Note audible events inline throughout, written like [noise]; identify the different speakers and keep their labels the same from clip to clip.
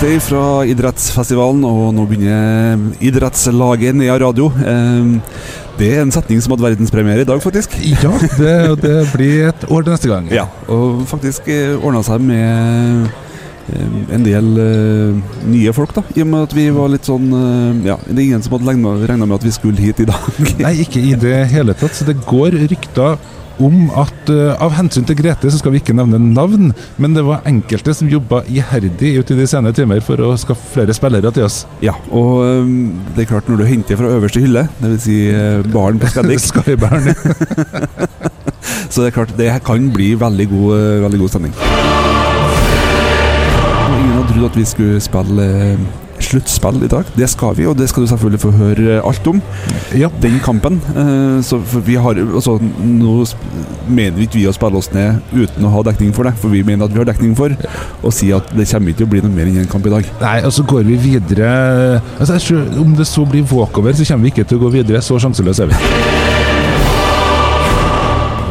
Speaker 1: direkte fra idrettsfestivalen, og nå begynner idrettslaget Nea Radio. Eh, Det er en setning som hadde verdenspremiere i dag, faktisk.
Speaker 2: Ja, det, det blir et år til neste gang.
Speaker 1: Ja, og faktisk ordna seg med eh, en del eh, nye folk, da. I og med at vi var litt sånn eh, Ja, det er ingen som hadde regna med at vi skulle hit i dag.
Speaker 2: Nei, ikke i det hele tatt. Så det går rykter om at eh, av hensyn til Grete så skal vi ikke nevne navn, men det var enkelte som jobba iherdig ute i de senere timer for å skaffe flere spillere til oss.
Speaker 1: [laughs] Ja, og eh, det er klart, når du henter fra øverste hylle, dvs. Si eh, baren på
Speaker 2: [laughs]
Speaker 1: Skeddik,
Speaker 2: Skybæren.
Speaker 1: Så det er klart, det her kan bli veldig god, eh, veldig god stemning. Og Ingen hadde trodd at vi skulle spille eh, sluttspill i dag. Det skal vi, og det skal du selvfølgelig få høre eh, alt om.
Speaker 2: Ja,
Speaker 1: Den kampen. eh, Så for vi har, altså, nå sp- mener vi ikke vi å spille oss ned uten å ha dekning for det, for vi mener at vi har dekning for å si at det kommer ikke til å bli noe mer enn én kamp i dag.
Speaker 2: Nei, og så går vi videre altså, jeg tror, Om det så blir walkover, så kommer vi ikke til å gå videre. Så sjanseløse er vi.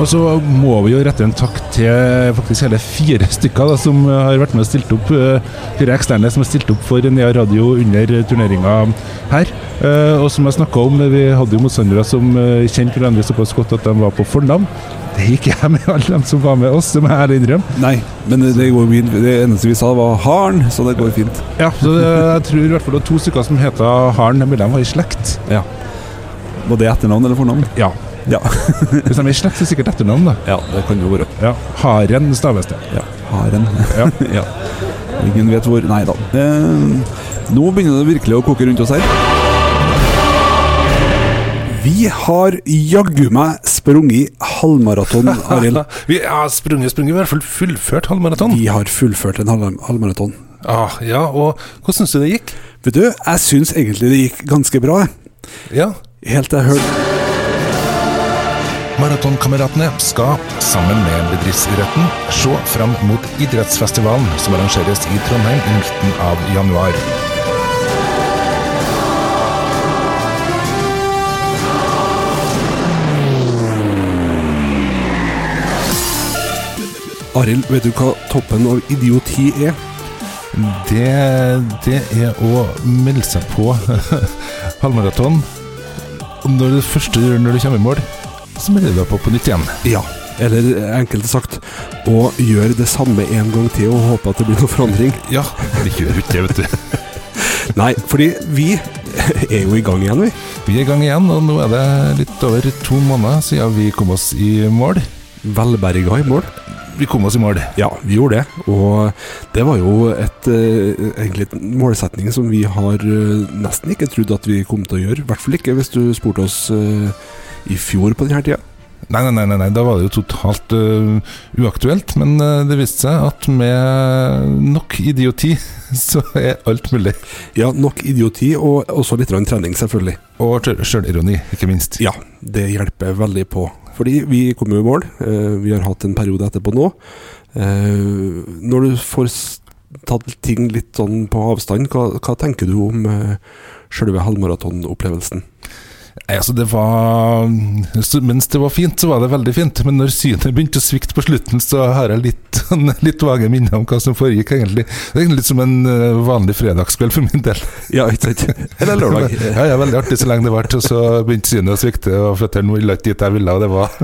Speaker 2: Og så må vi jo rette en takk til faktisk hele fire stykker da, som har vært med og stilt opp. eh, Fire eksterne som har stilt opp for Nea Radio under turneringa her. Eh, Og som jeg snakka om, vi hadde jo motstandere som eh, kjente hverandre såpass godt at de var på fornavn. Det gikk jeg med alle dem som var med oss, det må jeg ærlig innrømme.
Speaker 1: Nei, men det, det går fint. Det eneste vi sa, var 'har'n', så det går fint.
Speaker 2: Ja, så det, jeg tror i hvert fall det var to stykker som heter Haren, men de var i slekt.
Speaker 1: Var det etternavn eller fornavn?
Speaker 2: Ja.
Speaker 1: Ja. [laughs]
Speaker 2: Hvis de er i slekt, så er det sikkert etternavn, da.
Speaker 1: Ja, det kan jo være.
Speaker 2: Ja. Haren staves det.
Speaker 1: Ja, haren.
Speaker 2: [laughs] Ja.
Speaker 1: ja. Ingen vet hvor Nei da. Eh, nå begynner det virkelig å koke rundt oss her. Vi har jaggu meg sprunget halvmaraton,
Speaker 2: [laughs]
Speaker 1: Arild.
Speaker 3: Vi har sprunget, sprunget, i hvert fall fullført halvmaraton.
Speaker 1: Vi har fullført en halv halvmaraton.
Speaker 3: Ah, ja, og hvordan syns du det gikk?
Speaker 1: Vet du, jeg syns egentlig det gikk ganske bra. jeg.
Speaker 3: Ja,
Speaker 1: Helt til jeg hørte
Speaker 2: Maratonkameratene skal, sammen med bedriftsidretten, se fram mot idrettsfestivalen som arrangeres i Trondheim i midten av januar.
Speaker 1: Arild, vet du hva toppen av idioti er?
Speaker 2: Det, det er å melde seg på [laughs] halvmaraton. Og når det første du gjør når du kommer i mål, så melder du deg på på nytt igjen.
Speaker 1: Ja. Eller enkelt sagt, å gjøre det samme en gang til og håpe at det blir noe forandring.
Speaker 2: Ja, det gjør jo ikke det, vet du.
Speaker 1: Nei, fordi vi [laughs] er jo i gang igjen, vi.
Speaker 2: [laughs] Vi er i gang igjen, og nå er det litt over to måneder siden vi kom oss i mål.
Speaker 1: Velberga i mål.
Speaker 2: Vi kom oss i mål.
Speaker 1: Ja, vi gjorde det. Og det var jo et, eh, egentlig en målsetning som vi har eh, nesten ikke trodd at vi kom til å gjøre. I hvert fall ikke hvis du spurte oss eh, i fjor på denne tida.
Speaker 2: Nei, nei, nei, nei, nei, da var det jo totalt øh, uaktuelt. Men øh, det viste seg at med nok idioti, [laughs] så er alt mulig.
Speaker 1: Ja, nok idioti, og også litt grann trening, selvfølgelig.
Speaker 2: Og sjøl- sjølironi, ikke minst.
Speaker 1: Ja, det hjelper veldig på. Fordi vi kom jo i mål. eh, Vi har hatt en periode etterpå nå. Eh, Når du får s- tatt ting litt sånn på avstand, hva, hva tenker du om eh, selve halvmaratonopplevelsen?
Speaker 2: Nei, Altså, det var så Mens det var fint, så var det veldig fint. Men når synet begynte å svikte på slutten, så har jeg litt, [laughs] sånn, litt vage minner om hva som foregikk, egentlig. Det er egentlig litt som en øh, vanlig fredagskveld for min del.
Speaker 1: Ja, ikke sant? [laughs] Eller lørdag.
Speaker 2: [laughs] ja, ja, veldig artig så lenge det varte. Og så begynte synet å svikte, og føttene ville ikke dit jeg ville. Og det var [laughs]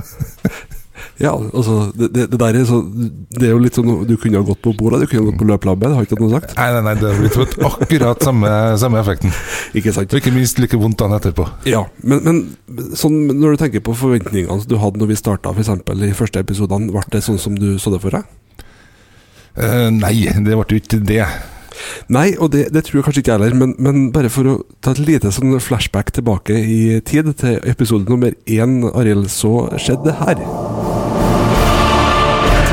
Speaker 1: Ja, altså, det, det, det der er så Det er jo litt sånn Du kunne ha gått på bordet, du kunne ha gått på løplabbet, det har ikke noe sagt.
Speaker 2: Nei, nei, nei, det har blitt fått akkurat samme, samme effekten.
Speaker 1: Ikke sant?
Speaker 2: Og ikke minst like vondt dagen etterpå.
Speaker 1: Ja, men, men sånn, når du tenker på forventningene som du hadde når vi starta, f.eks. i første episodene, ble det sånn som du så det for deg?
Speaker 2: Eh, nei, det ble jo ikke det.
Speaker 1: Nei, og det, det tror jeg kanskje ikke jeg heller, men, men bare for å ta et lite sånn flashback tilbake i tid, til episode nummer én, Arild, så skjedde det her.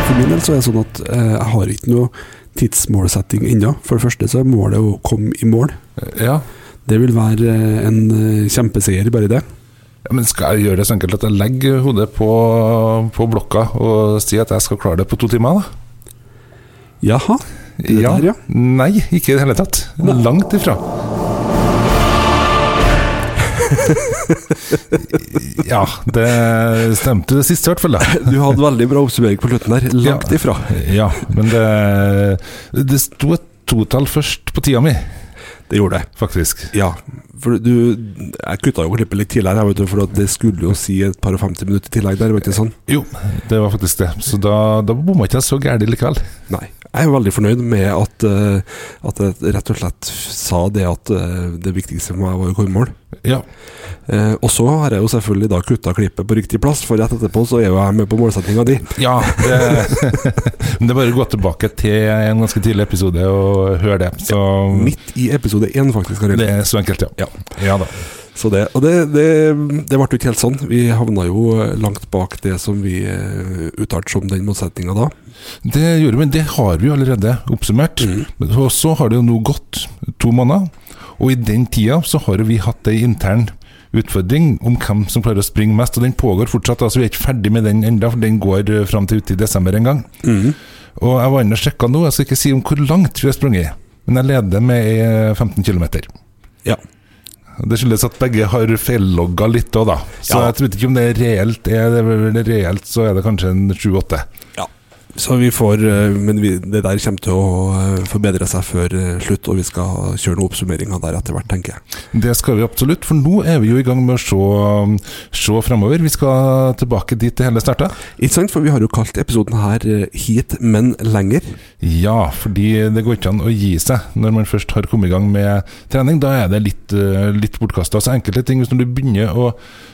Speaker 1: For min del så er det sånn at eh, jeg har ikke noe tidsmålsetting ennå. For det første så er målet å komme i mål.
Speaker 2: Ja.
Speaker 1: Det vil være eh, en eh, kjempeseier, bare det.
Speaker 2: Men skal jeg gjøre det så enkelt at jeg legger hodet på, på blokka og sier at jeg skal klare det på to timer? da?
Speaker 1: Jaha. Det der, ja.
Speaker 2: Nei, ikke i det hele tatt.
Speaker 1: Nei.
Speaker 2: Langt
Speaker 1: [laughs]
Speaker 2: ifra. ja, det stemte det siste i hvert fall, da.
Speaker 1: Du hadde veldig bra oppsummering på slutten der. Langt
Speaker 2: Ja.
Speaker 1: ifra.
Speaker 2: Ja, men det, det sto et totall først på tida mi,
Speaker 1: Det gjorde det.
Speaker 2: faktisk.
Speaker 1: Ja. For du Jeg kutta jo klippet litt tidligere, jeg, vet du, for at det skulle jo si et par og 50 minutter i tillegg der, var ikke sånn?
Speaker 2: Jo, det var faktisk det. Så da, da bomma ikke jeg så gærent likevel.
Speaker 1: Nei. Jeg er veldig fornøyd med at, eh, at jeg rett og slett sa det at eh, det viktigste for meg var å komme i mål.
Speaker 2: Ja.
Speaker 1: Eh, og så har jeg jo selvfølgelig da kutta klippet på riktig plass, for rett etterpå så er jo jeg med på målsettinga di.
Speaker 2: ja det, [laughs] men det er bare å gå tilbake til en ganske tidlig episode og høre det. Så
Speaker 1: Midt i episode én, faktisk. Arild.
Speaker 2: det er så enkelt, ja. Ja da.
Speaker 1: Så det, og det, det, det ble jo ikke helt sånn. Vi havna jo langt bak det som vi eh, uttalte som den motsetninga da.
Speaker 2: Det gjorde vi, det har vi jo allerede oppsummert. Og så har det jo nå gått to måneder, og i den tida så har jo vi hatt ei intern utfordring om hvem som klarer å springe mest, og den pågår fortsatt. altså Vi er ikke ferdig med den enda, for den går eh, fram til ute i desember en gang.
Speaker 1: Mm.
Speaker 2: Og jeg var inne og sjekka nå, jeg skal ikke si om hvor langt vi har sprunget, men jeg leder med eh, 15 km.
Speaker 1: Ja.
Speaker 2: Det skyldes at begge har feillogga litt òg, da. Så
Speaker 1: Ja.
Speaker 2: jeg vet ikke om det er reelt. Er det reelt, så er det kanskje en 7-8.
Speaker 1: Så vi får eh, Men vi, det der kommer til å eh, forbedre seg før eh, slutt, og vi skal kjøre noen oppsummeringer der etter hvert, tenker jeg.
Speaker 2: Det skal vi absolutt, for nå er vi jo i gang med å se, se framover. Vi skal tilbake dit det hele starta.
Speaker 1: Ikke sant? For vi har jo kalt episoden her eh, 'Hit, men lenger'.
Speaker 2: Ja, fordi det går ikke an å gi seg når man først har kommet i gang med trening. Da er det litt, eh, litt bortkasta. Så enkelte ting, hvis når du begynner å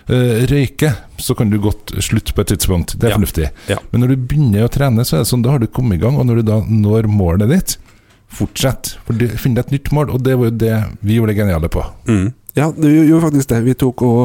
Speaker 2: eh, røyke, så kan du godt slutte på et tidspunkt. Det er
Speaker 1: Ja.
Speaker 2: fornuftig.
Speaker 1: Ja.
Speaker 2: Men når du begynner å trene, så er det sånn, da har du kommet i gang. Og når du da når målet ditt, fortsett. For du finner et nytt mål, og det var jo det vi gjorde det geniale på.
Speaker 1: Ja, det gjorde jo faktisk det. Vi tok og,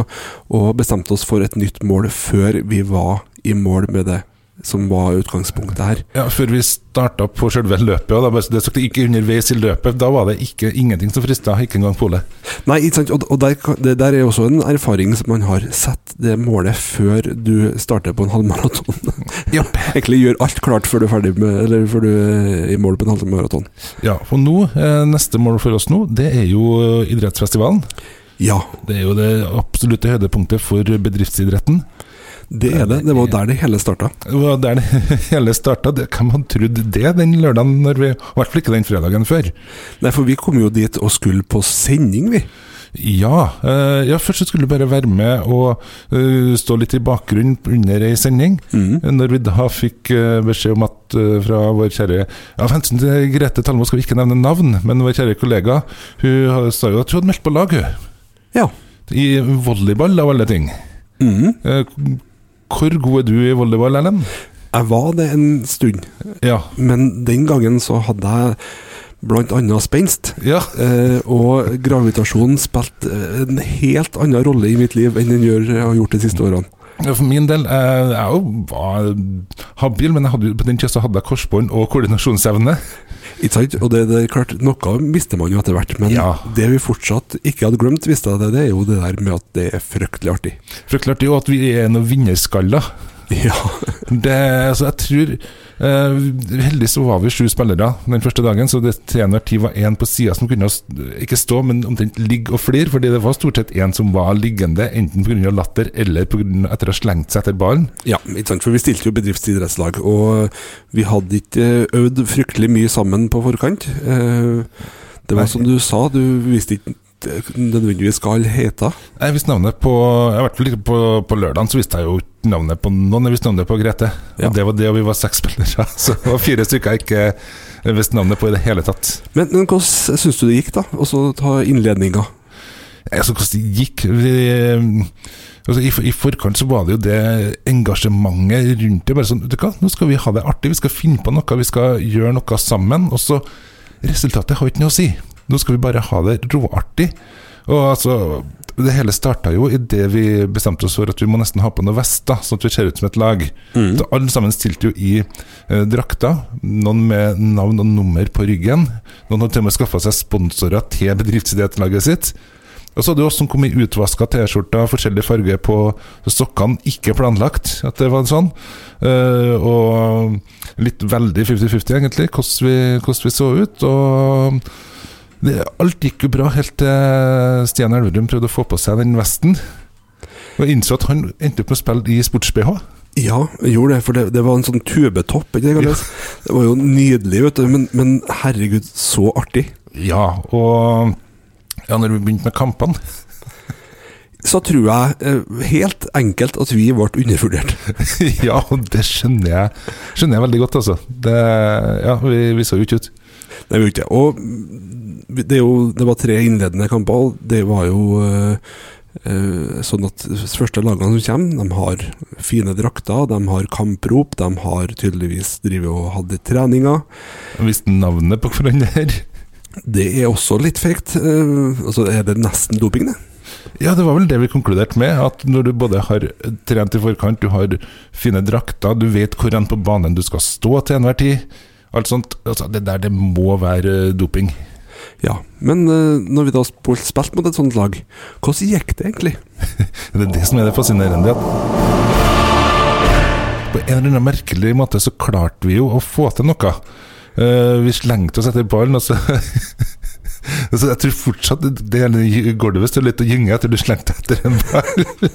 Speaker 1: og bestemte oss for et nytt mål før vi var i mål med det som var utgangspunktet her.
Speaker 2: Ja, Før vi starta på selve løpet, og da bare, det sagt, ikke underveis i løpet, da var det ikke, ingenting som frista, ikke engang polet.
Speaker 1: Nei, ikke sant. Og, og der, kan- det der er jo også en erfaring som man har sett det målet før du starter på en halvmaraton. [laughs]
Speaker 2: Japp.
Speaker 1: Egentlig gjør alt klart før du er ferdig med Eller før du er i mål på en halvmaraton.
Speaker 2: Ja, for nå, eh, Neste mål for oss nå, det er jo eh, idrettsfestivalen.
Speaker 1: Ja,
Speaker 2: Det er jo det absolutte høydepunktet for bedriftsidretten.
Speaker 1: det er det. Det var der det hele starta.
Speaker 2: Det var der det [laughs] hele starta. Hvem hadde trodd det den lørdagen, når vi, i hvert fall ikke den fredagen før?
Speaker 1: Nei, for vi kom jo dit og skulle på sending, vi.
Speaker 2: Ja, eh, ja, først så skulle du bare være med og eh, stå litt i bakgrunnen under ei sending.
Speaker 1: Mm.
Speaker 2: Når vi da fikk eh, beskjed om at eh, fra vår kjære Av hensyn til Grete Talmo skal vi ikke nevne navn, men vår kjære kollega Hun har- sa jo at hun hadde meldt på lag, hun.
Speaker 1: Ja.
Speaker 2: I volleyball, av alle ting.
Speaker 1: Mhm.
Speaker 2: Eh, Hvor god er du i volleyball, Erlend?
Speaker 1: Jeg var det en stund,
Speaker 2: Ja.
Speaker 1: men den gangen så hadde jeg blant annet spenst.
Speaker 2: ja.
Speaker 1: Eh, og gravitasjonen spilte eh, en helt annen rolle i mitt liv enn den gjør, har gjort de siste årene.
Speaker 2: For min del, eh, jeg jo var habil, men jeg hadde, jo- på den tida så hadde jeg korsbånd og koordinasjonsevne.
Speaker 1: Ikke sant? Og det, det er klart, Noe mister man jo etter hvert, men
Speaker 2: Ja.
Speaker 1: det vi fortsatt ikke hadde glemt, visste jeg det, det er jo det der med at det er fryktelig artig.
Speaker 2: For klart det er jo at vi er noen vinnerskaller.
Speaker 1: [laughs] Ja,
Speaker 2: Det, altså jeg tror eh, Heldigvis så var vi sju spillere den første dagen, så det til enhver tid var én på sida som kunne s- ikke stå, men omtrent ligge og flire. Fordi det var stort sett én som var liggende, enten pga. latter eller på grunn av etter å ha slengt seg etter ballen.
Speaker 1: ja ikke sant? for vi stilte jo bedriftsidrettslag, og vi hadde ikke eh, øvd fryktelig mye sammen på forkant. Eh, Det var
Speaker 2: Nei.
Speaker 1: som du sa, du visste ikke eh, nødvendigvis hva alle heta.
Speaker 2: Jeg visste navnet på I hvert fall ikke på, på lørdagen så visste jeg jo ikke navnet på noen. Jeg visste navnet på Grete.
Speaker 1: Ja.
Speaker 2: Og det var det, og vi var seks spillere. [laughs] Så det var fire stykker jeg ikke visste navnet på i det hele tatt.
Speaker 1: Men, men hvordan syns du det gikk, da? Og så ta innledninga.
Speaker 2: Altså, hvordan det gikk vi, altså, i, for- I forkant så var det jo det engasjementet rundt det. Bare sånn, vet du hva, nå skal vi ha det artig, vi skal finne på noe, vi skal gjøre noe sammen. Og så Resultatet har ikke noe å si. Nå skal vi bare ha det råartig. Og altså, det hele starta jo idet vi bestemte oss for at vi må nesten ha på noen vester, sånn at vi ser ut som et lag. Så alle sammen stilte jo i eh, drakter, noen med navn og nummer på ryggen. Noen hadde til og med skaffa seg sponsorer til bedriftsidrettslaget sitt. Og så hadde jo oss som kom i utvaska T-skjorter, forskjellig farge på sokkene, ikke planlagt at det var sånn. Eh, og litt veldig 50-50, egentlig, hvordan vi, hvordan vi så ut. Og det, alt gikk jo bra helt til Stian Elverum prøvde å få på seg den vesten. Og innså at han endte opp med å spille i sports-BH.
Speaker 1: Ja, jeg gjorde det, for det, det var en sånn tubetopp. Ikke det, kalles? det var jo nydelig, vet du. Men, men herregud, så artig.
Speaker 2: Ja, og ja, når vi begynte med kampene
Speaker 1: Så tror jeg eh, helt enkelt at vi ble undervurdert.
Speaker 2: [laughs]
Speaker 1: [laughs]
Speaker 2: Ja, og det skjønner jeg Skjønner jeg veldig godt, altså. Det, ja, vi, vi så jo ikke ut.
Speaker 1: Nei, vi gjorde ikke det. Og mm, det, er jo, det var tre innledende kamper, og det var jo eh, eh, sånn at de første lagene som kommer, de har fine drakter, de har kamprop, de har tydeligvis drevet og hatt litt treninger.
Speaker 2: Jeg visste navnet på hverandre her.
Speaker 1: Det er også litt fake. altså er det nesten doping, det?
Speaker 2: Ja, det var vel det vi konkluderte med. At når du både har trent i forkant, du har fine drakter, du vet hvor hen på banen du skal stå til enhver tid. Alt sånt. Altså, det der, det må være eh, doping.
Speaker 1: Ja. Men eh, når vi da spil- spilte mot et sånt lag, hvordan gikk det egentlig?
Speaker 2: Det er det som er det fascinerende. At på en eller annen merkelig måte så klarte vi jo å få til noe. Eh, vi slengte oss etter ballen, og så [laughs] Altså, jeg tror fortsatt det- det hele gulvet står litt og gynger etter du slengte etter en ball.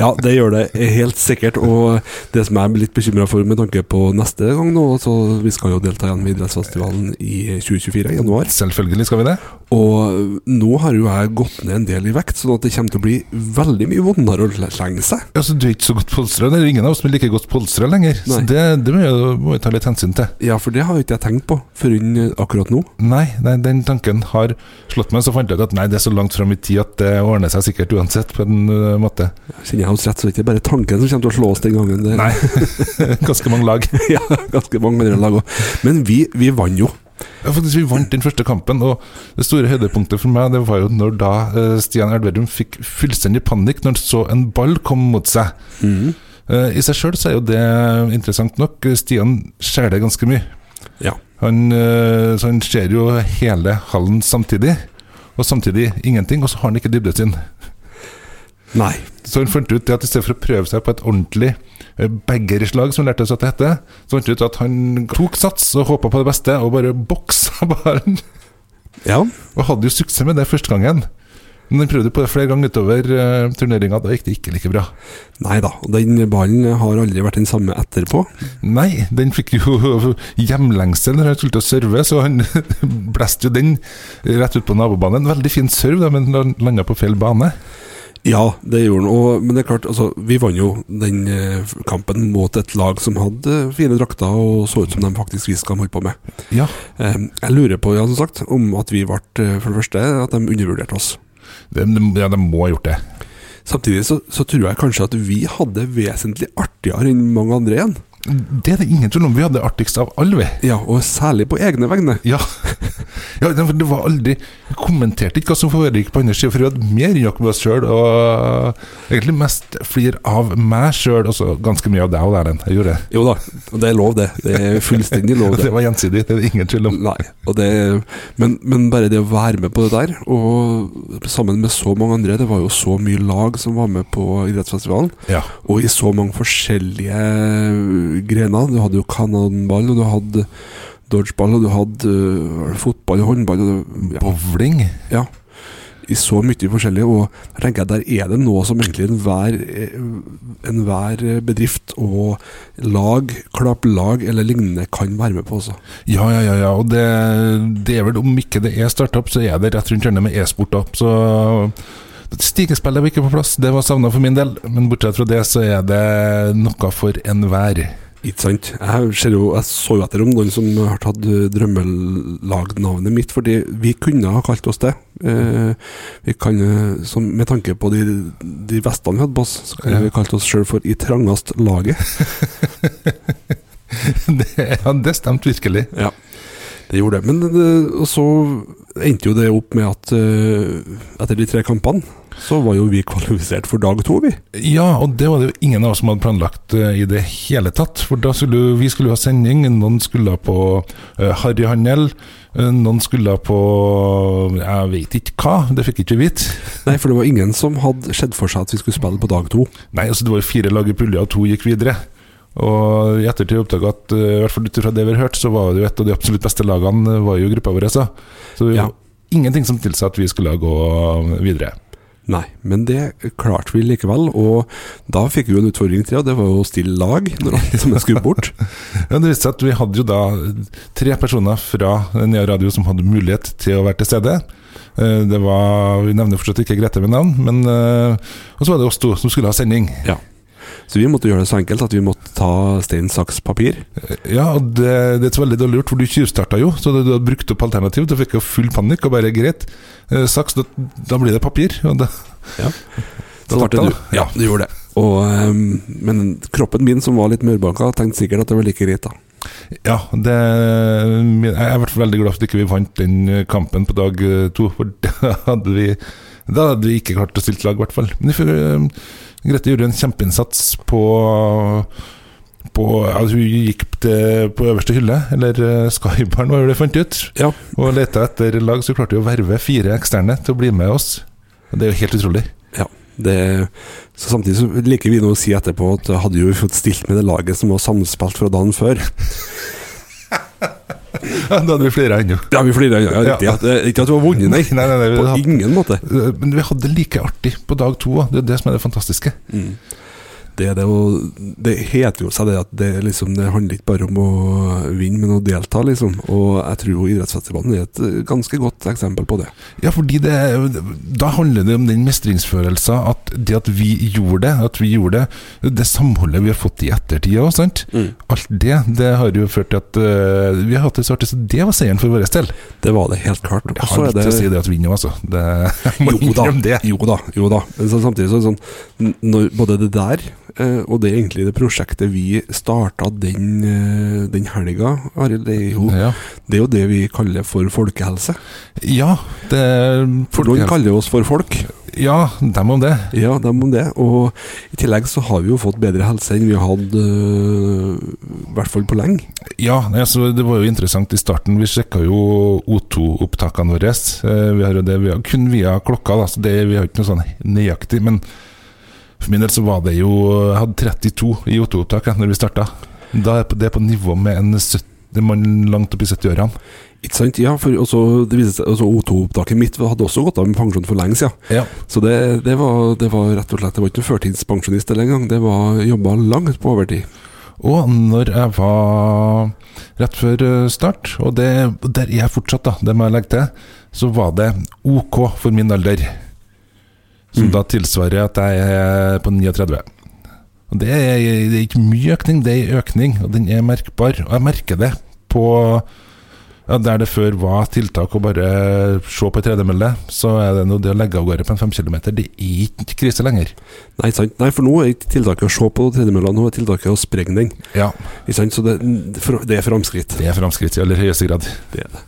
Speaker 1: Ja, det gjør det helt sikkert. Og det som jeg blir litt bekymra for med tanke på neste gang nå, så vi skal jo delta igjen ved idrettsfestivalen i 2024, i januar.
Speaker 2: Selvfølgelig skal vi det.
Speaker 1: Og nå har jo jeg gått ned en del i vekt, sånn at det kommer til å bli veldig mye vondere å slenge seg.
Speaker 2: Altså, du er ikke så godt polstra. Det er ingen av oss som er like godt polstra lenger. Så
Speaker 1: Nei.
Speaker 2: det, det må jeg- må vi ta litt hensyn til.
Speaker 1: Ja, for det har jo ikke jeg tenkt på forr'n akkurat nå.
Speaker 2: Nei, nei, den tanken har slått meg. Så fant jeg ut at nei, det er så langt fram i tid at det ordner seg sikkert uansett, på en ø, måte.
Speaker 1: Kjenner jeg oss rett, så er det ikke bare tanken som kommer til å slå oss den gangen. Det,
Speaker 2: Nei. [laughs] Ganske mange lag.
Speaker 1: [laughs] ja, ganske mange andre lag også. Men vi, vi vant jo.
Speaker 2: Ja, faktisk, vi vant den første kampen, og det store høydepunktet for meg det var jo når da eh, Stian Elverum fikk fullstendig panikk når han så en ball komme mot seg. Eh, I seg sjøl så er jo det interessant nok. Stian ser det ganske mye.
Speaker 1: Ja.
Speaker 2: Han, eh, så han ser jo hele hallen samtidig, og samtidig ingenting, og så har han ikke dybdet sin.
Speaker 1: Nei.
Speaker 2: Så han fant ut det at i stedet for å prøve seg på et ordentlig eh, baggerslag, som han lærte seg at det heter, så fant han ut at han tok sats og håpa på det beste, og bare boksa [laughs] ballen.
Speaker 1: Ja.
Speaker 2: Og hadde jo suksess med det første gangen. Men han prøvde på det flere ganger utover uh, turneringa. Da gikk det ikke like bra.
Speaker 1: Nei da. Den ballen har aldri vært den samme etterpå.
Speaker 2: Nei, den fikk jo [laughs] hjemlengsel når han skulle til å serve, så han [laughs] blæste jo den rett ut på nabobanen. Veldig fin serve, da, men han landa på feil bane.
Speaker 1: Ja, det gjorde han. Og, men det er klart, altså, vi vant jo den eh, kampen mot et lag som hadde eh, fine drakter og så ut som de faktisk visste hva de holdt på med.
Speaker 2: Ja,
Speaker 1: Eh, jeg lurer på, ja, som sagt, om at vi ble, eh, for det første, at de undervurderte oss.
Speaker 2: de, de- ja, de må ha gjort det.
Speaker 1: Samtidig så, så tror jeg kanskje at vi hadde vesentlig artigere enn mange andre igjen.
Speaker 2: Det er det ingen tvil om. Vi hadde det artigst av alle, vi.
Speaker 1: Ja, og særlig på egne vegne.
Speaker 2: Ja. [laughs] ja, for det var aldri Vi kommenterte ikke hva som foregikk på andre sida, for vi hadde mer jakk med oss sjøl, og egentlig mest flir av meg sjøl, og så ganske mye av deg og Erlend. Jeg gjorde det.
Speaker 1: Jo da, og det er lov det. Det er fullstendig lov
Speaker 2: Og
Speaker 1: det.
Speaker 2: [laughs] det var gjensidig, det er det ingen tvil om.
Speaker 1: Nei, og det, men, men bare det å være med på det der, og sammen med så mange andre Det var jo så mye lag som var med på idrettsfestivalen,
Speaker 2: Ja.
Speaker 1: og i så mange forskjellige grener. Du hadde jo kanonball, og du hadde dodgeball, og du hadde øh, fotball og håndball. Og det,
Speaker 2: Bowling.
Speaker 1: ja, ja, I så mye forskjellig. Og jeg tenker jeg der er det noe som egentlig enhver øh, enhver bedrift og lag, klapplag eller lignende, kan være med på også.
Speaker 2: Ja, ja, ja. ja. Og det, det er vel om ikke det er startup, så er det rett rundt hjørnet med e-sport. da. Så Stigespillet var ikke på plass, det var savna for min del. Men bortsett fra det, så er det noe for enhver. [laughs]
Speaker 1: Ikke sant. Jeg, ser jo, jeg så jo etter om noen som har tatt eh, drømmelagnavnet mitt, fordi vi kunne ha kalt oss det. Eh, vi kan, eh, som, med tanke på de, de vestene vi hadde på oss, så kunne
Speaker 2: Ja.
Speaker 1: vi kalt oss sjøl for I trangast laget.
Speaker 2: Det, ja, det stemte virkelig.
Speaker 1: Ja, det gjorde det. Men det, og så endte jo det opp med at eh, etter de tre kampene, så var jo vi kvalifisert for dag to, vi.
Speaker 2: Ja, og det var det jo ingen av oss som hadde planlagt eh, i det hele tatt. For da skulle jo- vi skulle jo ha sending, noen skulle ha på eh, harryhandel, eh, noen skulle ha på Jeg vet ikke hva, det fikk ikke vi vite.
Speaker 1: Nei, for det var ingen som hadde sett for seg at vi skulle spille på dag to.
Speaker 2: Nei, altså det var jo fire lag i pulja, og to gikk videre. Og i ettertid oppdaga at eh, i hvert fall ut fra det vi har hørt, så var det jo et av de absolutt beste lagene eh, var jo gruppa vår. altså. Så, så det var jo
Speaker 1: Ja.
Speaker 2: ingenting som tilsa at vi skulle gå eh, videre.
Speaker 1: Nei, men det klarte vi likevel. Og da fikk vi jo en utfordring til, og det var jo å stille lag når alle som skulle bort.
Speaker 2: Ja, det viste seg at vi hadde jo da tre personer fra Nea Radio som hadde mulighet til å være til stede. Eh, Det var, Vi nevner fortsatt ikke Grete ved navn, men eh, Og så var det oss to som skulle ha sending.
Speaker 1: Så vi måtte gjøre det så enkelt at vi måtte ta stein, saks, papir.
Speaker 2: Ja, og det, det er så veldig dårlig gjort, for du tjuvstarta jo. Så da du hadde brukt opp alternativ, da fikk jeg full panikk og bare greit. eh, Saks, da, da blir det papir. Og da,
Speaker 1: Så ble det du.
Speaker 2: Ja.
Speaker 1: Ja, det gjorde det. Og, ehm, men kroppen min, som var litt mørbanka, tenkte sikkert at det var like greit, da.
Speaker 2: ja, det Jeg er i hvert fall veldig glad for at ikke vi vant den kampen på dag eh, to, for [laughs] da hadde vi da hadde vi ikke klart å stille lag, i hvert fall. Men jeg føler, eh, Grete gjorde en kjempeinnsats på, på ja, Hun gikk til, på øverste hylle, eller eh, Skybarn, hva var det jeg fant ut?
Speaker 1: Ja,
Speaker 2: Og leta etter lag, så klarte vi å verve fire eksterne til å bli med oss. Og Det er jo
Speaker 1: [laughs]
Speaker 2: helt utrolig.
Speaker 1: det, så Samtidig så liker vi nå å si etterpå at hadde jo vi fått stilt med det laget som var samspilt fra dagen før
Speaker 2: Ja, da hadde vi flere ennå.
Speaker 1: Ja, vi flirer. Ja, ja, riktig.
Speaker 2: Ja.
Speaker 1: At, eh, ikke at du har vunnet, nei.
Speaker 2: Nei, nei, nei, vi
Speaker 1: På
Speaker 2: hadde-
Speaker 1: ingen måte.
Speaker 2: Eh, Men vi hadde det like artig på dag to òg. Det er det som er det fantastiske.
Speaker 1: Mm. Det, er det, å- det heter jo seg det at det, er liksom, det handler ikke bare om å vinne, men å delta, liksom. Og jeg tror jo idrettsfestivalen er et eh, ganske godt eksempel på det.
Speaker 2: Ja, fordi det, er jo- Da handler det om den mestringsfølelsen at det at vi gjorde det, at vi gjorde det, det samholdet vi har fått i ettertid òg, sant. Alt det det har jo ført til at eh, vi har hatt det så artig, så det var seieren for vår del.
Speaker 1: Det var det, helt klart.
Speaker 2: Jeg
Speaker 1: Og så
Speaker 2: har
Speaker 1: er
Speaker 2: litt til å si
Speaker 1: det
Speaker 2: det at vi vinner, altså. Det, [laughs] jeg må
Speaker 1: jo da,
Speaker 2: innrømme det.
Speaker 1: jo da, jo da. Men så samtidig så er det sånn n- når Både det der eh, og det egentlig det prosjektet vi starta den, eh, den helga, Arild, det, er jo-
Speaker 2: Ja.
Speaker 1: det er jo det vi kaller for folkehelse.
Speaker 2: ja, det
Speaker 1: For noen kaller oss for folk.
Speaker 2: Ja, dem om det.
Speaker 1: Ja, dem om det. Og i tillegg så har vi jo fått bedre helse enn vi har hatt øh, i hvert fall på lenge.
Speaker 2: Ja, nei, altså, det var jo interessant i starten. Vi sjekka jo O2-opptakene våre. Eh, Vi har jo det via, kun via klokka, da, så det, vi har ikke noe sånn nøyaktig. Men for min del så var det jo Jeg hadde 32 i O2-opptak jeg, når vi starta. Da er det på nivå med en 70 mann langt opp i 70-årene.
Speaker 1: Ikke sant? Ja, for også, det viste seg altså O2-opptaket mitt hadde også gått av med pensjon for lenge siden.
Speaker 2: Ja.
Speaker 1: Så det, det, var, det var rett og slett Det var ikke noen førtidspensjonist eller engang. Det var jobba langt på overtid.
Speaker 2: Og når jeg var rett før eh, start, og det, der er jeg fortsatt, da, det må jeg legge til, så var det OK for min alder. Som
Speaker 1: Mm.
Speaker 2: da tilsvarer at jeg er på 39. Og det er, det er ikke mye økning, det er en økning, og den er merkbar. Og jeg merker det på ja, Der det før var tiltak å bare se på ei tredemølle, så er det nå det å legge av gårde på en fem kilometer, det er ikke krise lenger.
Speaker 1: Nei, ikke sant? Nei, for nå er ikke tiltaket å se på tredemølla, nå er tiltaket å sprenge den.
Speaker 2: Ja,
Speaker 1: Ikke sant? Så det, det er framskritt.
Speaker 2: det er framskritt i aller høyeste grad.
Speaker 1: Det er det.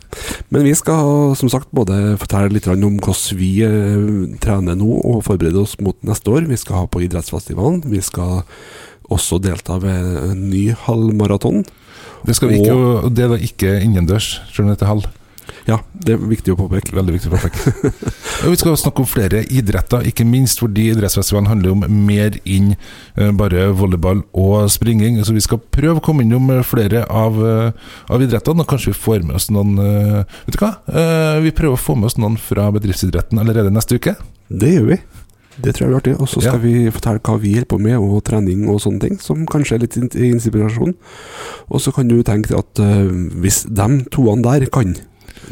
Speaker 1: Men vi skal som sagt både fortelle litt grann om hvordan vi eh, trener nå og forbereder oss mot neste år. Vi skal ha på idrettsfestivalen. Vi skal også delta ved en ny halvmaraton.
Speaker 2: Det skal vi ikke, og det er da ikke innendørs, selv om det heter halv.
Speaker 1: Ja, det er viktig å påpeke.
Speaker 2: Veldig viktig [laughs] påpeke. Og vi skal snakke om flere idretter, ikke minst fordi idrettsfestivalen handler om mer enn eh, bare volleyball og springing. Så vi skal prøve å komme innom eh, flere av, eh, av idrettene, og kanskje vi får med oss noen eh, Vet du hva? Eh, Vi prøver å få med oss noen fra bedriftsidretten allerede neste uke.
Speaker 1: Det gjør vi. Det tror jeg blir artig. Og så skal
Speaker 2: Ja.
Speaker 1: vi fortelle hva vi holder på med, og trening og sånne ting, som kanskje er litt in- inspirasjon. Og så kan du tenke at eh, hvis de toene der kan,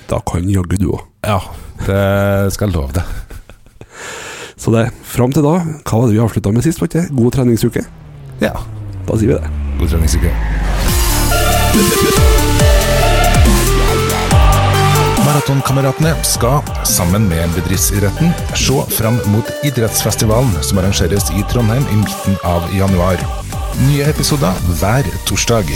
Speaker 1: da kan jaggu du òg.
Speaker 2: Ja, det skal jeg love deg.
Speaker 1: Så det, fram til da, hva var det vi avslutta med sist? var ikke det? God treningsuke?
Speaker 2: Ja.
Speaker 1: Da sier vi det.
Speaker 2: God treningsuke. Maratonkameratene skal, sammen med bedriftsidretten, se fram mot idrettsfestivalen som arrangeres i Trondheim i midten av januar. Nye episoder hver torsdag.